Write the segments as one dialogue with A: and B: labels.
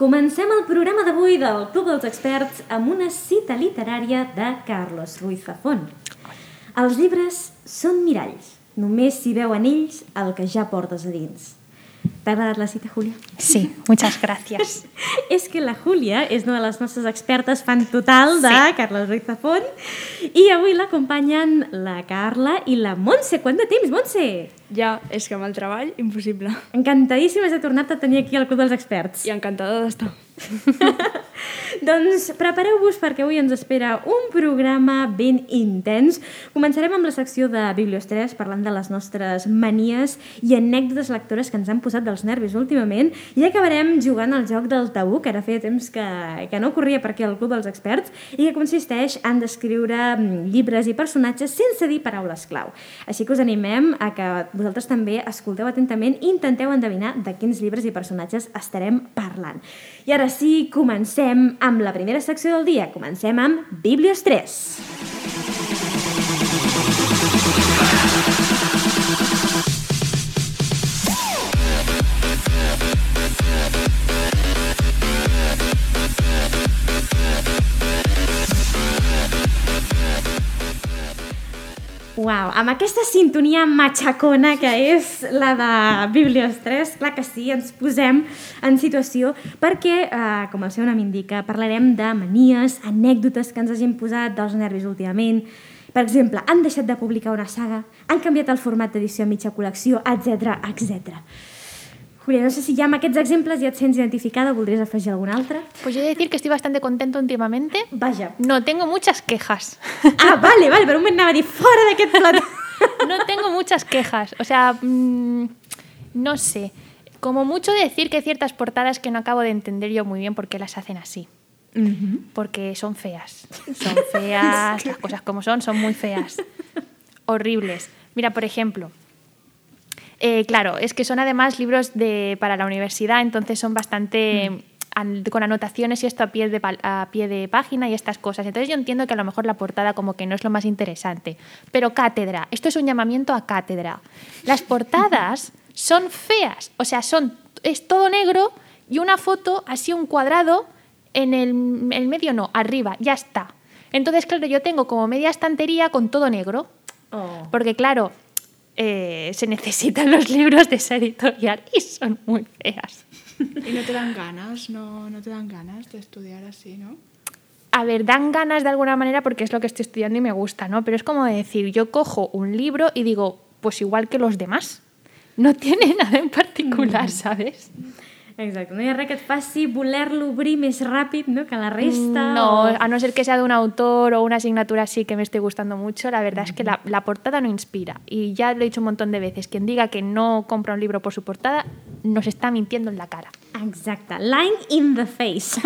A: Comencem el programa d'avui del Club dels Experts amb una cita literària de Carlos Ruiz Zafón. Els llibres són miralls, només s'hi veu en ells el que ja portes a dins. ¿Te ha agradat la cita, Julia?
B: Sí, muchas gracias.
A: és que la Júlia és una de les nostres expertes fan total de sí. Carles Ruiz Zafón i avui l'acompanyen la Carla i la Montse. Quant de temps, Montse?
C: Ja, és que amb el treball, impossible.
A: Encantadíssimes de tornar-te a tenir aquí al Club dels Experts.
C: I encantada d'estar.
A: doncs prepareu-vos perquè avui ens espera un programa ben intens. Començarem amb la secció de Bibliosteres parlant de les nostres manies i anècdotes lectores que ens han posat dels nervis últimament i acabarem jugant al joc del tabú, que ara feia temps que, que no corria per aquí al Club dels Experts i que consisteix en descriure mm, llibres i personatges sense dir paraules clau. Així que us animem a que vosaltres també escolteu atentament i intenteu endevinar de quins llibres i personatges estarem parlant. I ara sí, comencem amb la primera secció del dia. Comencem amb Biblios 3. Uau, amb aquesta sintonia matxacona que és la de Biblios 3, clar que sí, ens posem en situació perquè, eh, com el seu nom indica, parlarem de manies, anècdotes que ens hagin posat dels nervis últimament, per exemple, han deixat de publicar una saga, han canviat el format d'edició a mitja col·lecció, etc etc. Julia, no sé si ja amb aquests exemples ja et sents identificada o voldries afegir algun altre.
B: Pues yo he de decir que estoy bastante contento últimamente.
A: Vaja.
B: No tengo muchas quejas.
A: Ah, vale, vale, per un moment anava a dir fora d'aquest plat.
B: No tengo muchas quejas. O sea, mm, no sé. Como mucho decir que hay ciertas portadas que no acabo de entender yo muy bien por qué las hacen así.
C: Mhm.
B: Porque son feas. Son feas, las cosas como son, son muy feas. Horribles. Mira, por ejemplo, eh, claro, es que son además libros de, para la universidad, entonces son bastante an- con anotaciones y esto a pie, de, pal- a pie de página y estas cosas. Entonces yo entiendo que a lo mejor la portada como que no es lo más interesante, pero cátedra, esto es un llamamiento a cátedra. Las portadas son feas, o sea, son, es todo negro y una foto así un cuadrado en el, el medio, no, arriba, ya está. Entonces, claro, yo tengo como media estantería con todo negro.
A: Oh.
B: Porque claro, eh, se necesitan los libros de esa editorial y son muy feas.
C: I no te dan ganes, no, no te dan ganes d'estudiar així, no?
B: A ver, dan ganas de alguna manera porque es lo que estoy estudiando y me gusta, ¿no? Pero es como decir, yo cojo un libro y digo, pues igual que los demás. No tiene nada en particular, ¿sabes?
A: Exacte, no hi ha res que et faci voler-lo obrir més ràpid no? que la resta.
B: Mm, No,
A: o...
B: a no ser que sea de un autor o una asignatura así que me esté gustando mucho, la verdad es que la, la portada no inspira. Y ya lo he dicho un montón de veces, quien diga que no compra un libro por su portada nos está mintiendo en la cara.
A: Exacte, lying in the face.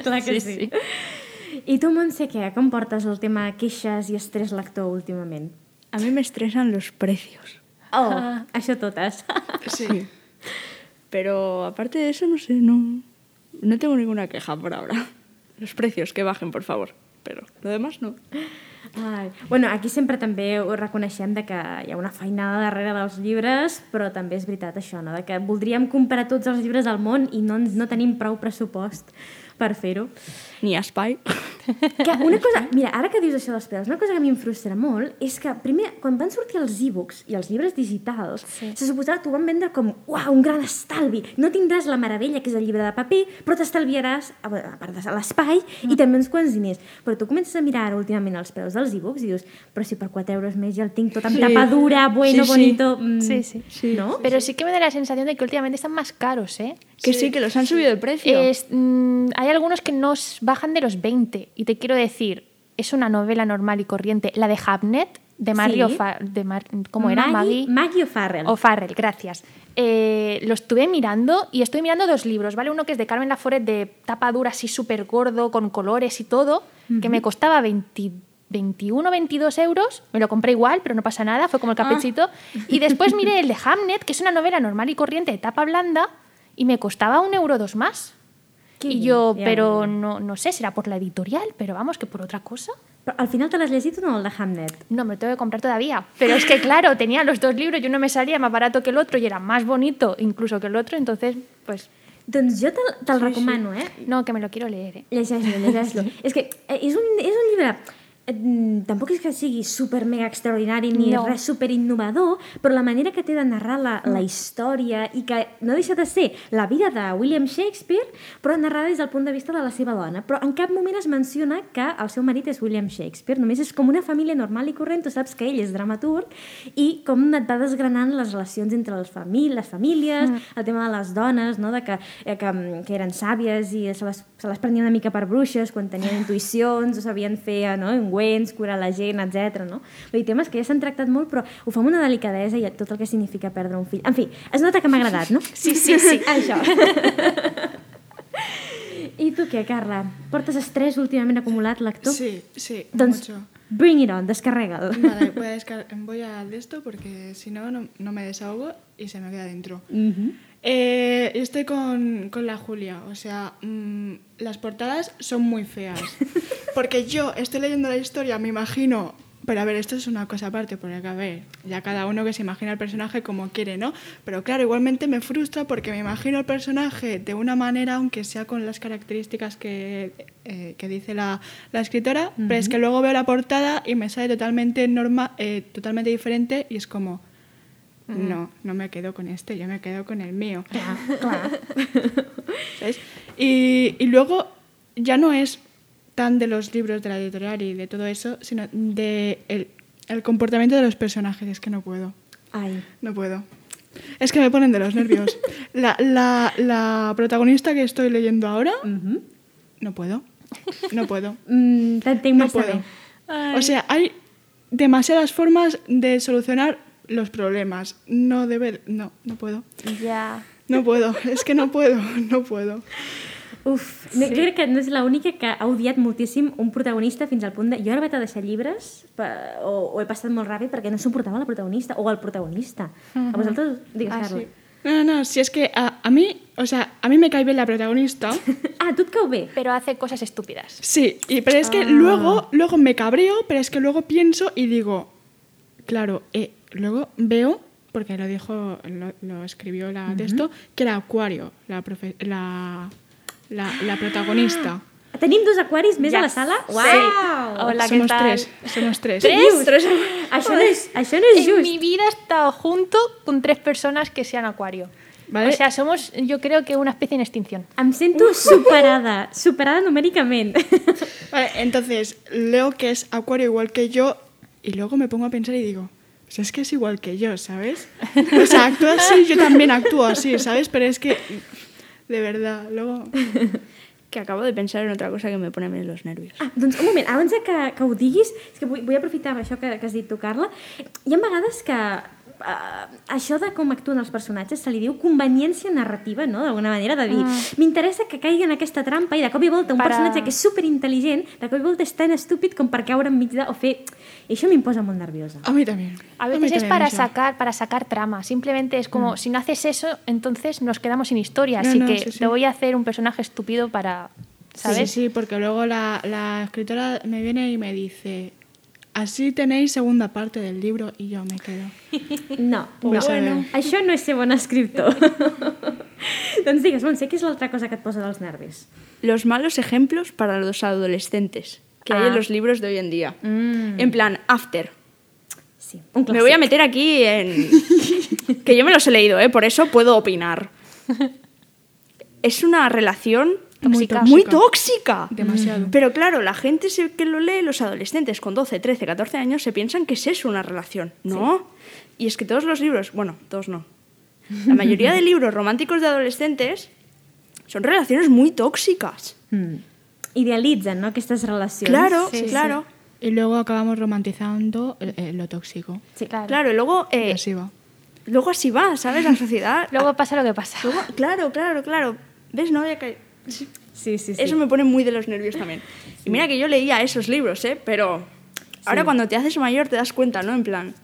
A: Clar que sí,
B: Sí,
A: sí.
B: sí.
A: I tu, Montse, què? Com portes el tema queixes i estrès lector últimament?
C: A mi m'estressen los precios.
A: Oh, això totes.
C: Sí. Pero aparte de eso, no sé, no, no tengo ninguna queja por ahora. Los precios, que bajen, por favor. Pero lo demás no.
A: Ai. Bueno, aquí sempre també ho reconeixem de que hi ha una feinada darrere dels llibres, però també és veritat això, no? de que voldríem comprar tots els llibres del món i no, ens- no tenim prou pressupost per fer-ho.
C: Ni a Spy.
A: Que una cosa, mira, ara que dius això dels preus, una cosa que a mi em frustra molt és que, primer, quan van sortir els e-books i els llibres digitals, sí. se suposava que ho van vendre com, uau, un gran estalvi. No tindràs la meravella, que és el llibre de paper, però t'estalviaràs, a veure, a part de l'espai, mm. i també uns quants diners. Però tu comences a mirar ara últimament els preus dels e-books i dius, però si per 4 euros més ja el tinc tot amb
C: Sí.
A: sí. tapadura, bueno,
C: Sí, sí.
A: sí, bonito... Mm,
B: Sí, sí.
C: Sí,
A: No?
B: Pero sí que me da la sensación de que últimamente están más caros, ¿eh?
C: Que sí, que los han subido de precio.
B: Es, mm, hay algunos que nos bajan de los 20. Y te quiero decir, es una novela normal y corriente. La de Habnet, de Mario...
A: Sí.
B: Fa- de Mar- ¿Cómo era? Maggie.
A: Maggie O'Farrell.
B: O'Farrell, gracias. Eh, lo estuve mirando y estoy mirando dos libros, ¿vale? Uno que es de Carmen Laforet de tapa dura así súper gordo, con colores y todo, que me costaba 20 21 22 euros, me lo compré igual, pero no pasa nada, fue como
A: Ah.
B: el caprichito. Y después miré el de Hamnet, que es una novela normal y corriente de tapa blanda, y me costaba un euro o dos más.
A: Qué
B: y
A: bien,
B: yo,
A: ya,
B: pero
A: ya, ya.
B: No, no sé, será por la editorial, pero vamos, que por otra cosa.
A: Però al final te l'has llegit o no, el de Hamnet?
B: No, me lo tengo que comprar todavía. Pero es que, claro, tenía los dos libros y uno me salía más barato que el otro y era más bonito incluso que el otro. Entonces, pues,
A: Doncs jo te'l te sí, recomano, eh?
B: No, que me lo quiero leer. eh.
A: Llegeix-lo, llegeix-lo. és que eh, és un, és un llibre... eh, mm, Tampoc és que sigui super mega extraordinari ni
B: No.
A: res super innovador, però la manera que té de narrar la, la història i que no deixa de ser la vida de William Shakespeare, però narrada des del punt de vista de la seva dona. Però en cap moment es menciona que el seu marit és William Shakespeare, només és com una família normal i corrent, tu saps que ell és dramaturg, i com et va desgranant les relacions entre les, famí les famílies,
B: Mm.
A: el tema de les dones, no? de que, eh, que, mm, que eren sàvies i eh, se les, se les prenien una mica per bruixes quan tenien intuïcions, o sabien fer eh, no? ungüents, curar la gent, etc. No? Vull dir, temes que ja s'han tractat molt, però ho fa amb una delicadesa i tot el que significa perdre un fill. En fi, es nota que m'ha agradat, no?
B: Sí, sí, sí.
A: Això. I tu què, Carla? Portes estrès últimament acumulat, lector?
D: Sí, sí,
A: Doncs
D: mucho.
A: bring it on, descarrega'l.
D: Vale, voy a, descar- voy al de esto porque si no, no, no me desahogo y se me queda dentro.
A: Mhm.
D: Eh, yo estoy con, con la Julia, o sea, mm, las portadas son muy feas. Porque yo estoy leyendo la historia, me imagino. Pero a ver, esto es una cosa aparte, porque a ver, ya cada uno que se imagina el personaje como quiere, ¿no? Pero claro, igualmente me frustra porque me imagino el personaje de una manera, aunque sea con las características que, eh, que dice la, la escritora, pero es que luego veo la portada y me sale totalmente, norma, eh, totalmente diferente y es como, no, no me quedo con este, yo me quedo con el mío.
A: Clar, clar.
D: ¿sabes? Y, y luego ya no es tan de los libros de la editorial y de todo eso, sino de el, el comportamiento de los personajes. Es que no puedo,
A: Ai,
D: no puedo. Es que me ponen de los nervios. La, la- la protagonista que estoy leyendo ahora, no puedo, no puedo.
A: Mhm. mm, t'entenc
D: No
A: massa
D: puedo.
A: bé.
D: O sea, hay demasiadas formas de solucionar los problemas. No debe, no, no puedo.
B: Ya.
D: No puedo, es que no puedo, no puedo.
A: Uf, sí. jo crec que no és l'única que ha odiat moltíssim un protagonista fins al punt de... Jo ara vaig a deixar llibres pa- o, o he passat molt ràpid perquè no suportava la protagonista o el protagonista. A vosaltres, digues,
B: Ah,
A: ah, Carla.
B: sí.
D: No, no, no, si es que a, a mí, o sea, a mí me cae bien la protagonista.
A: Ah, tu et cau bé.
B: Pero hace cosas estúpidas.
D: Sí, y, pero
B: Ah.
D: es que luego, luego me cabreo, pero es que luego pienso y digo, claro, eh, luego veo, porque lo dijo, lo, lo escribió la de esto, que era Acuario, la, profe- la, la, la protagonista.
A: Tenim dos aquaris més yes. a la sala?
B: Sí.
A: Uau!
B: Hola, ¿qué
D: somos
B: tal?
D: tres, somos tres.
A: Dius, Això no és, això no és
B: En mi
A: just.
B: vida he estado junto con tres personas que sean acuario.
D: Vale.
B: O sea, somos, yo creo que una especie en extinción.
A: Em sento superada, superada numèricament.
D: Vale, entonces leo que es Acuario igual que yo y luego me pongo a pensar y digo, pues es que es igual que yo, ¿sabes? O sea, actúa así, yo también actúo así, ¿sabes? Pero es que, de verdad, luego...
C: Que acabo de pensar en otra cosa que me pone a mí los nervios.
A: Ah, doncs un moment, abans de que, que ho diguis, és que vull, vull aprofitar això que, que has dit tu, Carla. Hi ha vegades que uh, això de com actuen els personatges se li diu conveniència narrativa, no?, d'alguna manera, de dir,
C: Mm.
A: m'interessa que caigui en aquesta trampa i de cop i volta un
B: Para-
A: personatge que és superintel·ligent, de cop i volta és tan estúpid com per caure enmig de... o fer... I això m'imposa molt nerviosa.
C: Ah.
D: A mí también.
B: A
D: mí
B: veces es
D: también,
B: para
D: o sea.
B: sacar, para sacar trama. Simplemente es como, si no haces eso, entonces nos quedamos sin historia.
D: No,
B: Así
D: no,
B: que
D: sí, sí.
B: te voy a hacer un personaje estúpido para, ¿sabes?
D: Sí, sí, porque luego la, la escritora me viene y me dice, así tenéis segunda parte del libro y yo me quedo.
A: No,
D: Pues
A: no.
D: a veure.
A: això no és ser bon escriptor. doncs digues, Montse, què és l'altra cosa que et posa dels nervis?
C: Los malos ejemplos para los adolescentes que hay
A: Ah.
C: en los libros de hoy en día. En plan, after.
A: Sí, un clàssic.
C: Me voy a meter aquí en... que yo me los he leído, ¿eh? Por eso puedo opinar. Es una relación
B: Muy
C: tóxica.
B: tóxica.
C: muy tóxica.
D: Demasiado.
C: Pero claro, la gente se- que lo lee, los adolescentes con 12, 13, 14 años, se piensan que es eso una relación. No. Y es que todos los libros, bueno, todos no. La mayoría de libros románticos de adolescentes son relaciones muy tóxicas.
A: Mm. Idealitzen, no?, aquestes relacions.
C: Claro,
B: sí, sí.
C: claro.
D: Y luego acabamos romantizando eh, eh, lo tóxico.
A: Sí.
B: Claro.
C: Claro, y luego,
D: Y
C: eh,
D: así va.
C: luego así va, ¿sabes? La sociedad.
B: Luego pasa lo que pasa.
C: Luego- claro, claro, claro. ¿Ves? No había caído.
A: Sí, sí, sí.
C: Eso me pone muy de los nervios también. Y mira que yo leía esos libros, ¿eh? Pero ahora cuando te haces mayor te das cuenta, ¿no? En plan,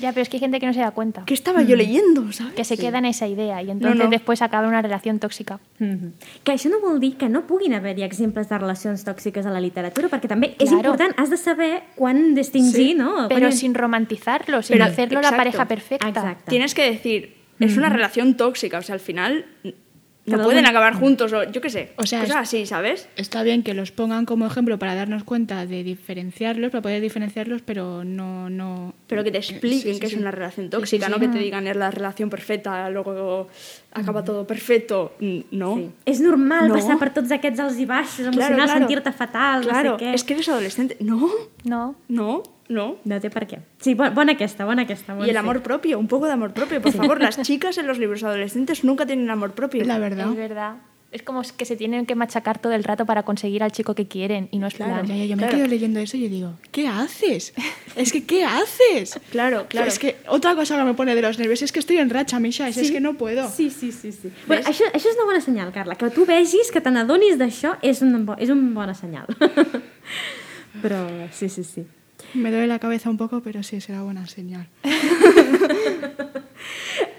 B: Ya, pero es que hay gente que no se da cuenta.
C: ¿qué estaba yo leyendo, sabes?
B: Que se queda en esa idea y entonces
C: no.
B: después acaba una relación tóxica.
A: Mhm. Que això no vol dir que no puguin haver-hi exemples de relacions tòxiques a la literatura, perquè també és
B: Claro.
A: important, has de saber quan distingir, no?
B: Pero
A: quan...
B: sin romantizarlo, sin
C: Pero-
B: hacerlo la
C: exacto.
B: pareja perfecta.
A: Exacte.
C: Tienes que decir, es una relación tóxica, o sea, al final no
A: Cada
C: pueden
A: uno-
C: acabar juntos o yo qué sé.
D: O sea,
C: cosas
D: es-
C: así, ¿sabes?
D: Está bien que los pongan como ejemplo para darnos cuenta de diferenciarlos, para poder diferenciarlos, pero no... no
C: Pero que te
D: Eh, sí,
C: expliquen
D: sí,
C: que
D: sí.
C: es una relación
D: Sí,
C: tóxica,
D: sí,
C: no
D: sí.
C: que te digan es la relación perfecta, luego acaba todo perfecto. Mm, No.
A: Sí. És normal
C: No.
A: no. passar per tots aquests alts i baixos emocionals, claro, claro. sentir-te fatal,
C: Claro,
A: no sé què.
C: es que eres adolescente. No,
B: No.
C: no, no.
A: No té per què. Sí, bo- bona aquesta, bona aquesta.
C: Y
A: Montse.
C: el amor propio, un poco de amor propio, por favor. Las chicas en los libros adolescentes nunca tienen amor propio.
D: La verdad.
B: Es verdad. Es como que se tienen que machacar todo el rato para conseguir al chico que quieren y no es
C: Claro,
B: plan.
D: Ya, ya, yo me
C: Claro.
D: quedo leyendo eso y yo digo, ¿qué haces? Es que, ¿qué haces?
C: Claro, claro.
D: Es que otra cosa que me pone de los nervios es que estoy en racha, Misha, es que no puedo.
A: Sí, sí, sí. sí. Bueno, això, això és una bona senyal, Carla. Que tu vegis que te n'adonis d'això és, un bo, és un bon senyal. Però sí, sí, sí.
D: Me duele la cabeza un poco, pero sí, será buena señal.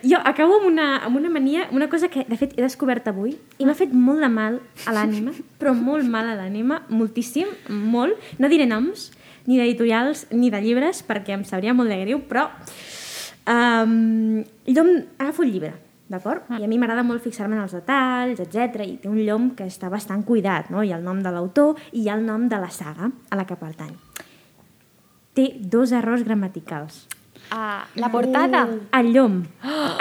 A: Jo acabo amb una, amb una mania, una cosa que de fet he descobert avui i m'ha fet molt de mal a l'ànima, però molt mal a l'ànima, moltíssim, molt. No diré noms, ni d'editorials, ni de llibres, perquè em sabria molt de greu, però um, jo em- agafo el llibre, d'acord? I a mi m'agrada molt fixar-me en els detalls, etc. i té un llom que està bastant cuidat, no? Hi ha el nom de l'autor i hi ha el nom de la saga a la que pertany. Té dos errors gramaticals.
B: Ah, la portada.
A: Ah. El llom,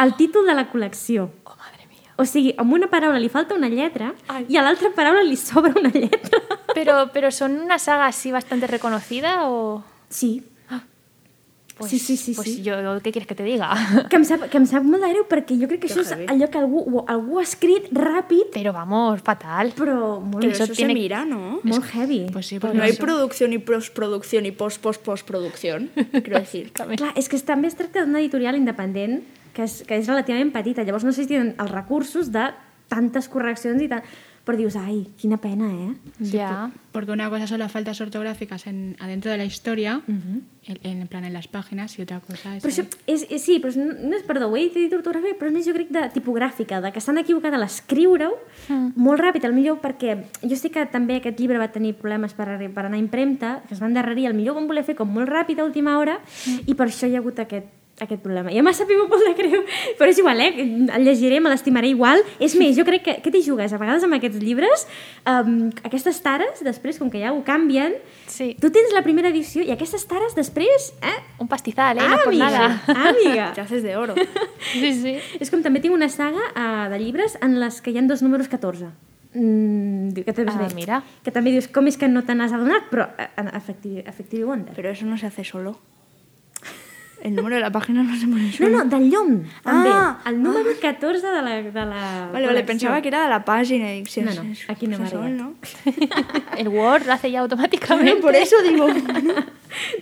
A: el títol de la col·lecció.
B: Oh, madre mía.
A: O sigui, a una paraula li falta una lletra
B: Ai.
A: i a l'altra paraula li sobra una lletra.
B: Pero, pero son una saga así bastante reconocida o.
A: Sí,
B: Pues,
A: Sí, sí, sí,
B: Pues
A: sí.
B: yo, ¿qué quieres que te diga?
A: que em sap, que em sap molt de greu perquè jo crec que, això és allò que algú, o algú ha escrit ràpid,
B: Pero vamos, fatal.
A: però molt,
C: Pero
B: eso
C: eso,
B: tiene-
C: se mira, ¿no?
A: molt heavy.
D: Pues sí,
C: Pues
D: porque
C: no hay
D: eso-
C: producción y postproducción y post post postproducción, quiero decir.
A: Clar, és que es- també es tracta d'una editorial independent que és, que és relativament petita, llavors no sé si tenen els recursos de tantes correccions i tant... Però dius, ai, quina pena, eh?
B: Ya.
D: Porque una cosa son las faltas ortográficas en, adentro de la historia, en, en plan en las páginas, y otra cosa es...
A: Però això és, és, sí, però és- no, no és, perdó, ho he dit ortogràfica, però és més jo crec de tipogràfica, de que s'han equivocat a l'escriure-ho mm. molt ràpid, el millor perquè jo sé que també aquest llibre va tenir problemes per, arri- per anar a impremta, que es van endarrerir, el millor van voler fer com molt ràpid a última hora mm. i per això hi ha hagut aquest aquest problema. I a m'ha sabut molt de greu, però és igual, eh? El llegiré, me l'estimaré igual. És més, jo crec que... Què t'hi jugues? A vegades amb aquests llibres, um, aquestes tares, després, com que ja ho canvien,
B: Sí.
A: tu tens la primera edició i aquestes tares després, eh?
B: Un pastizal, ¿eh? no por
A: amiga, Ah,
B: nada.
A: amiga.
C: Te haces de oro.
B: Sí, sí.
A: És com també tinc una saga uh, de llibres en les que hi han dos números 14. Mm, diu que, també,
B: Ah, mira.
A: que també dius com és que no te n'has adonat, però uh, Effective, Effective Wonder.
C: Pero eso no se hace solo. El número de la página no se pone
A: No,
C: solo.
A: no, del llom, també.
C: Ah,
A: el número 14 de la, de la
C: Vale, vale, pensaba que era de la página. Y si
A: No,
C: es-
A: no,
C: es-
A: aquí no me
C: es
A: arriba.
C: sol, ¿no?
B: El Word lo hace ya automáticamente.
C: Por eso digo.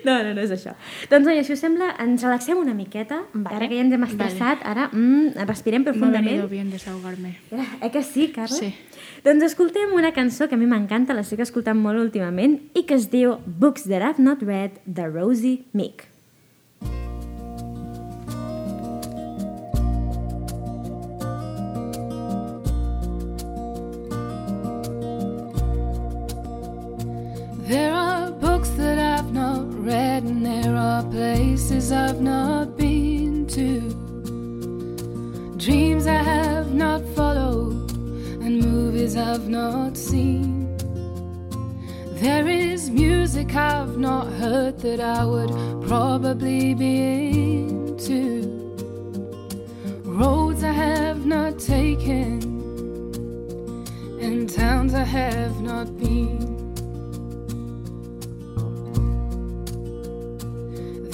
A: No, no, no és això. Doncs, oi, si us sembla, ens relaxem una miqueta.
B: Vale.
A: Ara que ja ens hem estressat, ara mm, respirem
D: Me ha venido
A: profundament.
D: bien desahogarme.
A: Eh que sí, Carla?
D: Sí.
A: Doncs escoltem una cançó que a mi m'encanta, l'estic escoltant molt últimament, i que es diu Books That I've Not Read, de Rosie Meek.
E: There are books that I've not read, and there are places I've not been to. Dreams I have not followed, and movies I've not seen. There is music I've not heard that I would probably be into. Roads I have not taken, and towns I have not been.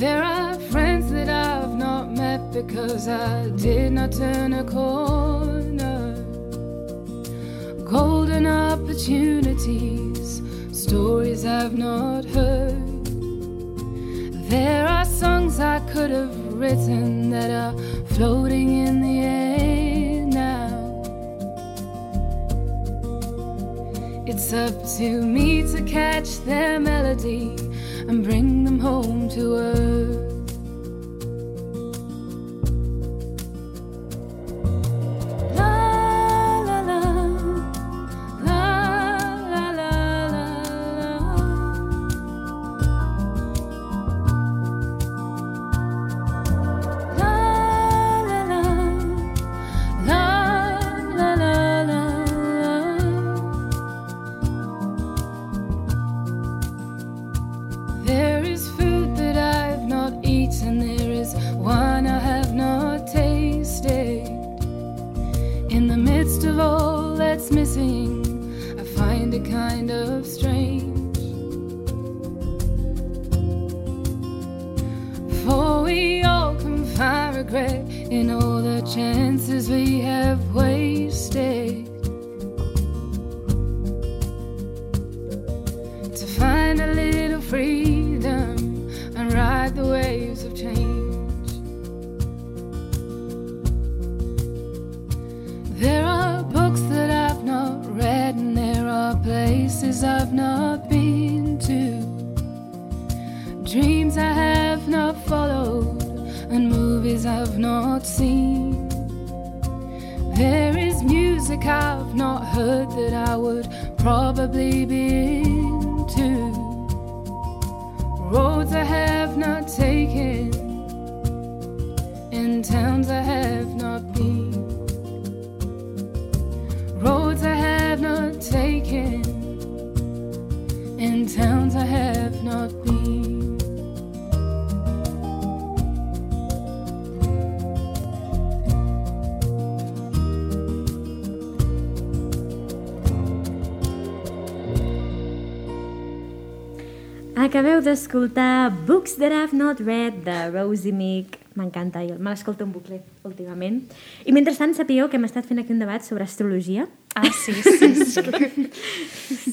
E: There are friends that I've not met because I did not turn a corner. Golden opportunities, stories I've not heard. There are songs I could have written that are floating in the air now. It's up to me to catch their melody and bring them home to earth. La la la, la la la la. La la la, la la la In the midst of all that's missing, I find it kind of strange. For we all can find regret in all the chances we have wasted. To find a little freedom and ride the waves of change. There are books that I've not read, and there are places I've not been to. Dreams I have not followed, and movies I've not seen. There is music I've not heard that I would probably be into. Roads I have not taken, and towns I have not been roads I have not taken, and towns I have not been.
A: Acabeu d'escoltar Books That I've Not Read de Rosie Meek. M'encanta, i me l'escolto en bucle últimament. I mentrestant sapigueu que hem estat fent aquí un debat sobre astrologia,
B: Ah, sí, sí, sí.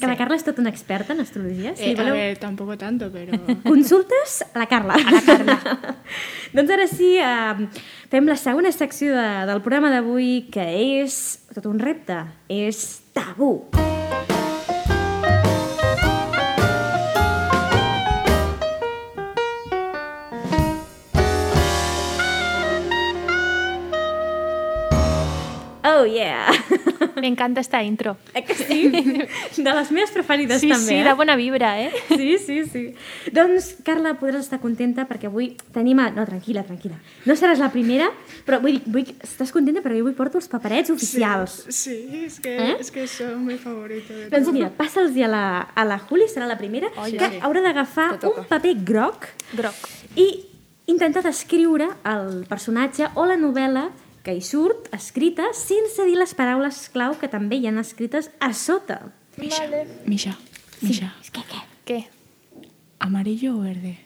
A: que la Carla és tota una experta en astrologia. Si
D: Eh,
A: li
D: a
A: voleu
D: ver, tampoco tanto, pero...
A: Consultes a la Carla. A la Carla. doncs ara sí, eh, fem la segona secció de, del programa d'avui, que és tot un repte, és tabú. Oh yeah!
B: Me encanta esta intro.
A: Eh que sí? De les meves preferides
B: Sí,
A: també.
B: sí,
A: eh?
B: da buena vibra, ¿eh?
A: Sí, sí, sí. Doncs, Carla, podràs estar contenta perquè avui tenim... A... No, tranquil·la, tranquil·la. No seràs la primera, però vull, dir- vull... Estàs contenta perquè jo avui porto els paperets
D: Sí,
A: oficials. Sí.
D: Sí, es que,
A: ¿Eh?
D: es que son mi favorito. de
A: Doncs mira, passa'ls a la, a la Juli, serà la primera,
D: Ai,
A: que
D: sí.
A: haurà d'agafar
C: Te toca.
A: un paper groc
B: Groc.
A: i intentar descriure el personatge o la novel·la que hi surt, escrita, sense dir les paraules clau que també hi han escrites a sota.
D: todo. Misha, Misha,
A: És que què?
B: ¿Qué?
D: ¿amarillo o verde?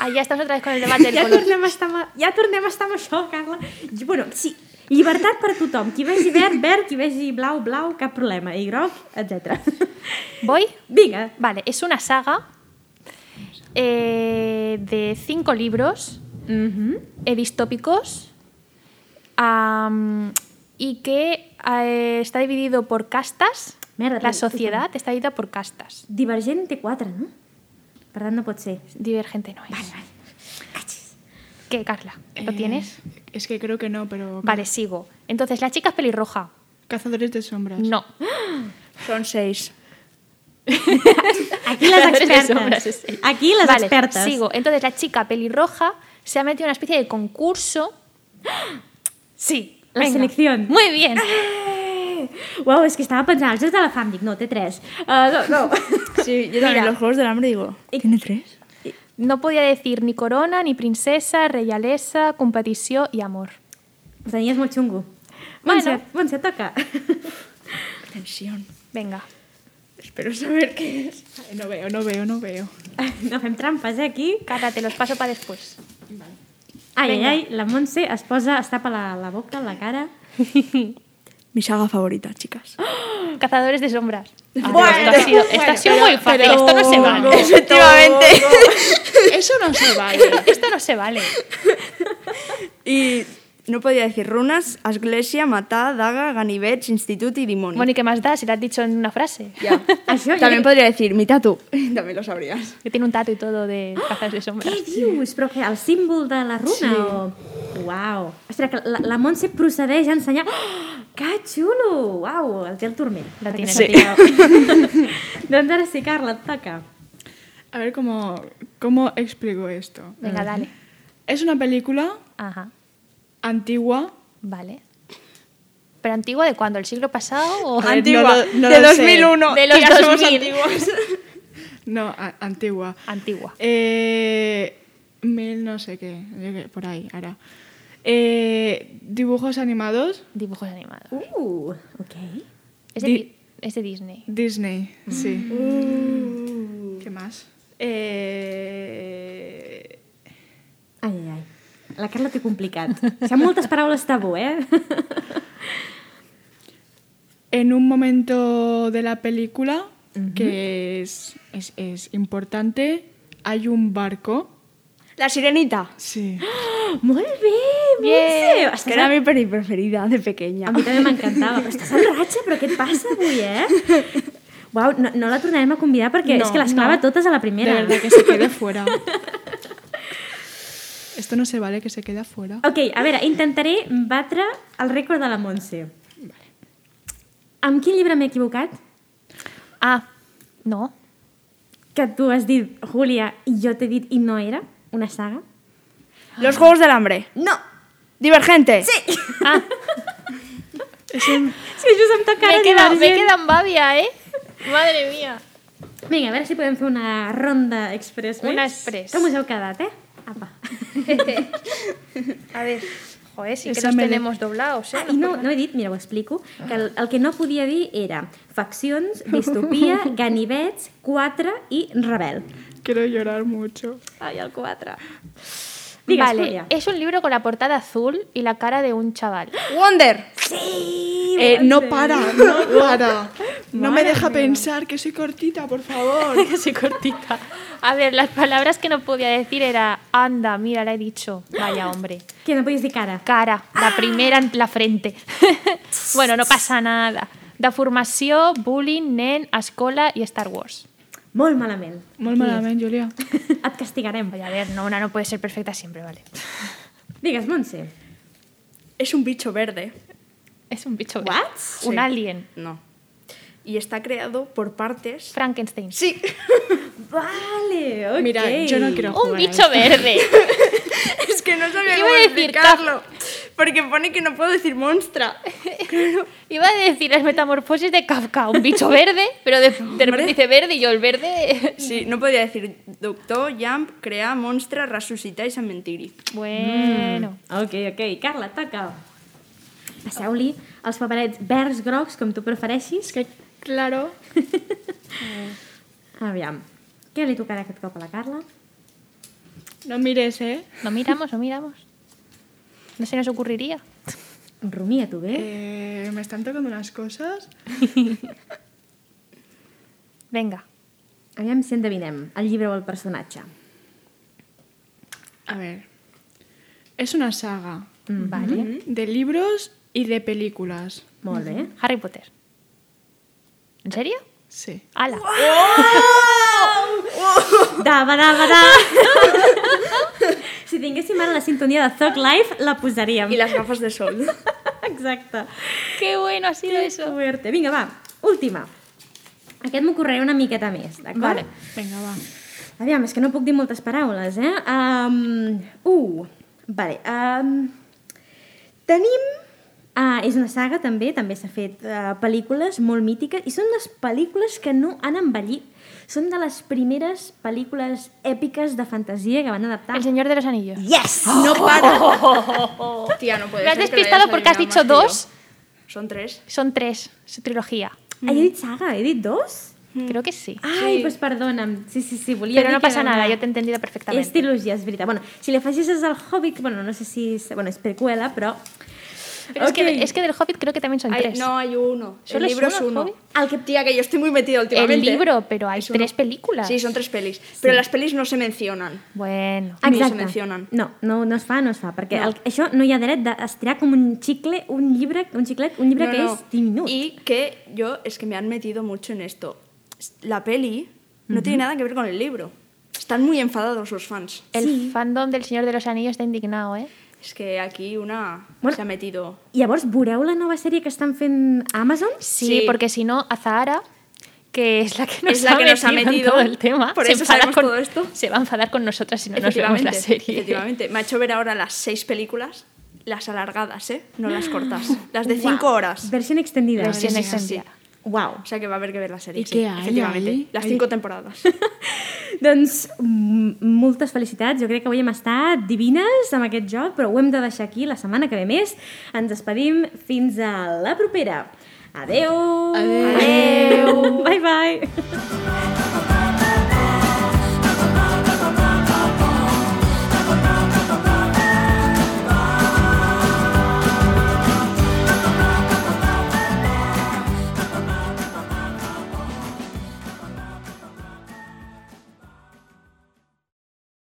B: Ah, ya estamos otra vez con el debate del
A: ja
B: color.
A: tornem a estar amb, ja tornem a estar amb això, Carla. Jo, bueno, sí, llibertat per a tothom. Qui vegi verd, verd, qui vegi blau, blau, cap problema. I groc, etc.
B: ¿Voy?
A: Vinga.
B: Vale, es una saga eh, de cinco libros
A: Mm -hmm.
B: eh, distópicos am, y que eh, está dividido por castas.
A: Merda,
B: La
A: pero-
B: sociedad está dividida por castas.
A: Divergent té quatre, no? Per tant, no pot ser.
B: Divergente no es. ¿Qué, Carla? ¿Lo
D: Eh,
B: tienes?
D: Es que creo que no, pero...
B: Vale, sigo. Entonces, la chica es pelirroja.
D: Cazadores de sombras.
B: No.
C: Son seis.
A: Aquí les
B: Tres
A: expertes.
B: ombres, sí.
A: Aquí les
B: Vale,
A: expertes.
B: Sigo. Entonces la chica pelirroja se ha metido en una especie de concurso. Sí.
A: La selección.
B: Muy bien.
A: Eh! Uau, és que estava pensant, els dos de la fam, dic, no, té tres. Uh, no, no.
C: Sí, yo también
B: Mira.
C: los Juegos del Hambre digo... ¿Tiene tres?
B: No podía decir ni corona, ni princesa, realeza, competició i amor.
A: Ho tenies molt xungo.
B: Bueno.
A: Montse, Montse, toca.
C: Tensión.
B: Venga.
C: Espero saber qué es.
D: Ay, No veo, no veo, no veo.
A: No fem trampes, eh, aquí.
B: Carla, te los paso para después.
A: Ai, ai,
B: Vinga.
A: ai, la Montse es posa, es tapa la, la boca, la cara...
C: Mi saga favorita, chicas.
B: Cazadores de sombras.
A: Ah, Bueno,
B: esto ha sido, esto ha sido muy fácil. esto no se vale.
C: Efectivamente.
D: Eso no se vale.
B: Esto no se vale.
C: Y no podía decir runas, església, matar, daga, ganivets, institut y dimoni.
B: Bueno, ¿y qué más da si lo has dicho en una frase?
C: Ya.
A: Això jo
C: También
A: crec-
C: podría decir mi tatu. También lo sabrías.
B: Que tiene un tato y todo de cazadores de sombras.
A: Què dius? Però que el símbol de la runa sí. o... Uau. Ostres, que la, la Montse procedeix a ensenyar... Oh, que xulo! Uau, el gel turment.
B: La
A: Perquè
B: tienes,
A: sí.
B: la
A: doncs ara sí, Carla, et toca.
D: A ver cómo, cómo explico esto.
B: Venga, dale.
D: Es una película
B: Ajá.
D: antigua.
B: Vale. ¿Pero antigua de cuándo? ¿El siglo pasado? O...
D: Ay, Antigua, no
C: de
D: lo sé.
C: 2001.
B: De los
C: ya somos
B: 2000.
C: antiguos.
D: No, a- antigua.
B: Antigua.
D: Eh, mil no sé qué, yo qué, por ahí, ahora. Eh, Dibujos animados,
B: Dibujos animados.
A: Uh, ok.
B: Es de,
D: Di-
B: Di- es de Disney.
D: Disney, sí. ¿Qué más? Eh...
A: Ai, ai, ai. La Carla té complicat. Si hi ha moltes paraules tabú, eh?
D: En un momento de la película, que es, es, es importante, hay un barco.
C: La sirenita.
D: Sí.
A: Molt bé, Montse! eh?
C: Bien. Que
A: Estàs
C: era
A: a...
C: mi peli preferida de pequeña.
A: a mi també m'encantava. Però Estàs en ratxa, però què et passa avui, eh? Uau, no, no la tornarem a convidar perquè no,
D: No,
A: és que les clava
D: no.
A: totes a la
D: De
A: primera.
D: verdad que se quede fuera. Esto no se vale que se queda fuera.
A: Ok, a veure, intentaré batre el rècord de la Montse. Vale. Amb quin llibre m'he equivocat?
B: Ah, no.
A: Que tu has dit, Júlia, i jo t'he dit i no era una saga?
C: Los Juegos del Hambre.
A: No!
C: Divergente.
A: Sí!
B: Ah,
A: És que just em
B: me
A: tocava
B: he quedado- me he
A: divergent.
B: quedado en Babia, ¿eh? Madre mía.
A: Vinga, a veure si podem fer una ronda express més.
B: Una express.
A: Com us heu quedat, eh? Apa.
B: A ver, joder, sí que
D: Esa
B: los
D: me le-
B: tenemos doblados, ¿eh?
A: Ah, I no, no he dit, mira, ho explico, que el, el que no podia dir era faccions, distopia, ganivets, 4 i rebel.
D: Quiero llorar mucho.
A: Ai, el 4. Digues,
B: Vale,
A: Júlia.
B: es un libro con la portada azul y la cara de un chaval.
C: Wonder.
A: Sí!
D: Eh, no para, no para. No me deja pensar que soy cortita, por favor.
B: Así cortita. A ver, las palabras que no podía decir era, anda, mira, la he dicho. Vaya, hombre.
A: Que no podies dir cara.
B: Cara, la primera en la frente. bueno, no pasa nada. Da formació, bullying, nen, escola i Star Wars.
A: Molt malament.
D: Muy malamente, Julia.
A: Et castigarem.
B: Oye, a ver, no, una no puede ser perfecta siempre, ¿vale?
A: Digues, Montse.
C: Es un bicho verde.
B: Es un bicho.
A: What?
B: verde. Un
C: Sí.
B: alien.
C: No. Y está creado por partes.
B: Frankenstein.
C: Sí.
A: Vale, ok.
D: Mira, yo no quiero jugar.
B: Un
D: a
B: bicho verde.
C: es que no sabía
B: Iba
C: cómo
B: a decir
C: explicarlo. Porque pone que no puedo decir monstra.
B: Iba a decir las metamorfosis de Kafka. Un bicho verde, pero de, de repente dice verde y yo el verde.
C: Sí, no podía decir doctor, jump, crea, monstra, resucita y San Mentiri.
B: Bueno.
A: Ok, ok. Carla, toca. Passeu-li els paperets verds, grocs, com tu prefereixis.
D: Es que, claro,
A: Aviam. Què li tocarà aquest cop a la Carla?
D: no mires, ¿eh?
B: No miramos, no miramos. No se nos ocurriría.
A: Rumia, tu bé?
D: Eh, me están tocando unas cosas.
B: Venga.
A: Aviam si endevinem el llibre o el personatge.
D: A ver. Es una saga
B: Vale.
D: de libros y de películas.
A: Molt bé.
B: Harry Potter. ¿En serio?
D: Sí.
B: ¡Hala!
A: Dava, dava, da! si tinguéssim ara la sintonia de Thug Life, la posaríem.
C: Y las gafas de sol.
A: Exacte.
B: ¡Qué bueno ha sido eso!
A: Fuerte. Vinga, va, última. Aquest m'ocorreré una miqueta més, d'acord?
B: Vale.
D: Venga, va.
A: Aviam, és que no puc dir moltes paraules, eh? Um, uh, vale. Um, tenim... Ah, és una saga, també, també s'ha fet uh, pel·lícules molt mítiques, i són les pel·lícules que no han envellit. Són de les primeres pel·lícules èpiques de fantasia que van adaptar. Oh,
B: El Señor de los Anillos.
A: Yes!
C: No para. Tía, no puede
B: Me has
C: ser que lo
B: despistado
C: hayas
B: porque has dicho
C: adivinado
B: dos.
C: más que yo. Son tres.
B: Son tres. Su trilogía.
A: Ah, he dit saga, he dit dos?
C: Mm.
B: Creo que
C: Ah,
B: sí.
A: Ai, doncs pues perdona'm. Sí, sí, sí, volia
B: Pero
A: dir
B: no
A: que
B: pasa
A: era
B: nada,
A: una-
B: yo te he entendido
A: És
B: perfectamente.
A: trilogia, és veritat. Bueno, si li afegeixes el Hobbit, bueno, no sé si... És, bueno, és prequela, però...
B: Pero es,
A: Ok.
B: que, es que del Hobbit creo que también son
C: Hay-
B: tres.
C: no, hay uno.
B: ¿Solo
C: el
B: es
C: libro
B: uno,
C: es uno.
B: Javi?
C: Al que tía, que yo estoy muy metida últimamente.
B: el libro, pero hay
C: Es uno.
B: tres películas.
C: Sí, son tres pelis. Pero las pelis no se mencionan.
B: Bueno.
C: Ni se mencionen.
A: No, no, no es fa, no es fa, perquè no. El, això no hi ha dret d'estirar com un xicle, un llibre, un xiclet, un llibre
C: No,
A: que
C: no.
A: és diminut.
C: Y que yo, es que me han metido mucho en esto. La peli no tiene nada que ver con el libro. Están muy enfadados los fans.
B: El fandom del Señor de los Anillos está indignado, ¿eh?
C: Es que aquí una
A: Bueno.
C: se ha metido.
A: Llavors, veureu la nova sèrie que estan fent a Amazon?
B: Sí,
C: Sí.
B: porque si no, Azahara, que es la que nos,
C: Es la
B: ha,
C: que nos ha
B: metido en
C: metido,
B: todo el tema,
C: por
B: se
C: eso
B: enfada
C: sabemos
B: con-
C: todo esto.
B: Se va a enfadar con nosotras si no nos vemos la serie.
C: efectivamente. Me ha hecho ver ahora las seis películas, las alargadas, ¿eh? No las cortas. Las de cinco horas.
A: Versió extendida.
B: Versión
C: sí, sí, sí.
B: extendida.
A: Wow.
C: O sea que va a haber que ver la serie.
D: ¿Y
C: sí,
D: qué hay
C: efectivamente.
D: ahí?
C: Las
D: Hay-
C: cinco temporadas.
A: Doncs mm, moltes felicitats, jo crec que avui hem estat divines amb aquest joc, però ho hem de deixar aquí la setmana que ve més. Ens despedim fins a la propera. Adeu!
D: Adeu.
A: Adeu. Bye, bye!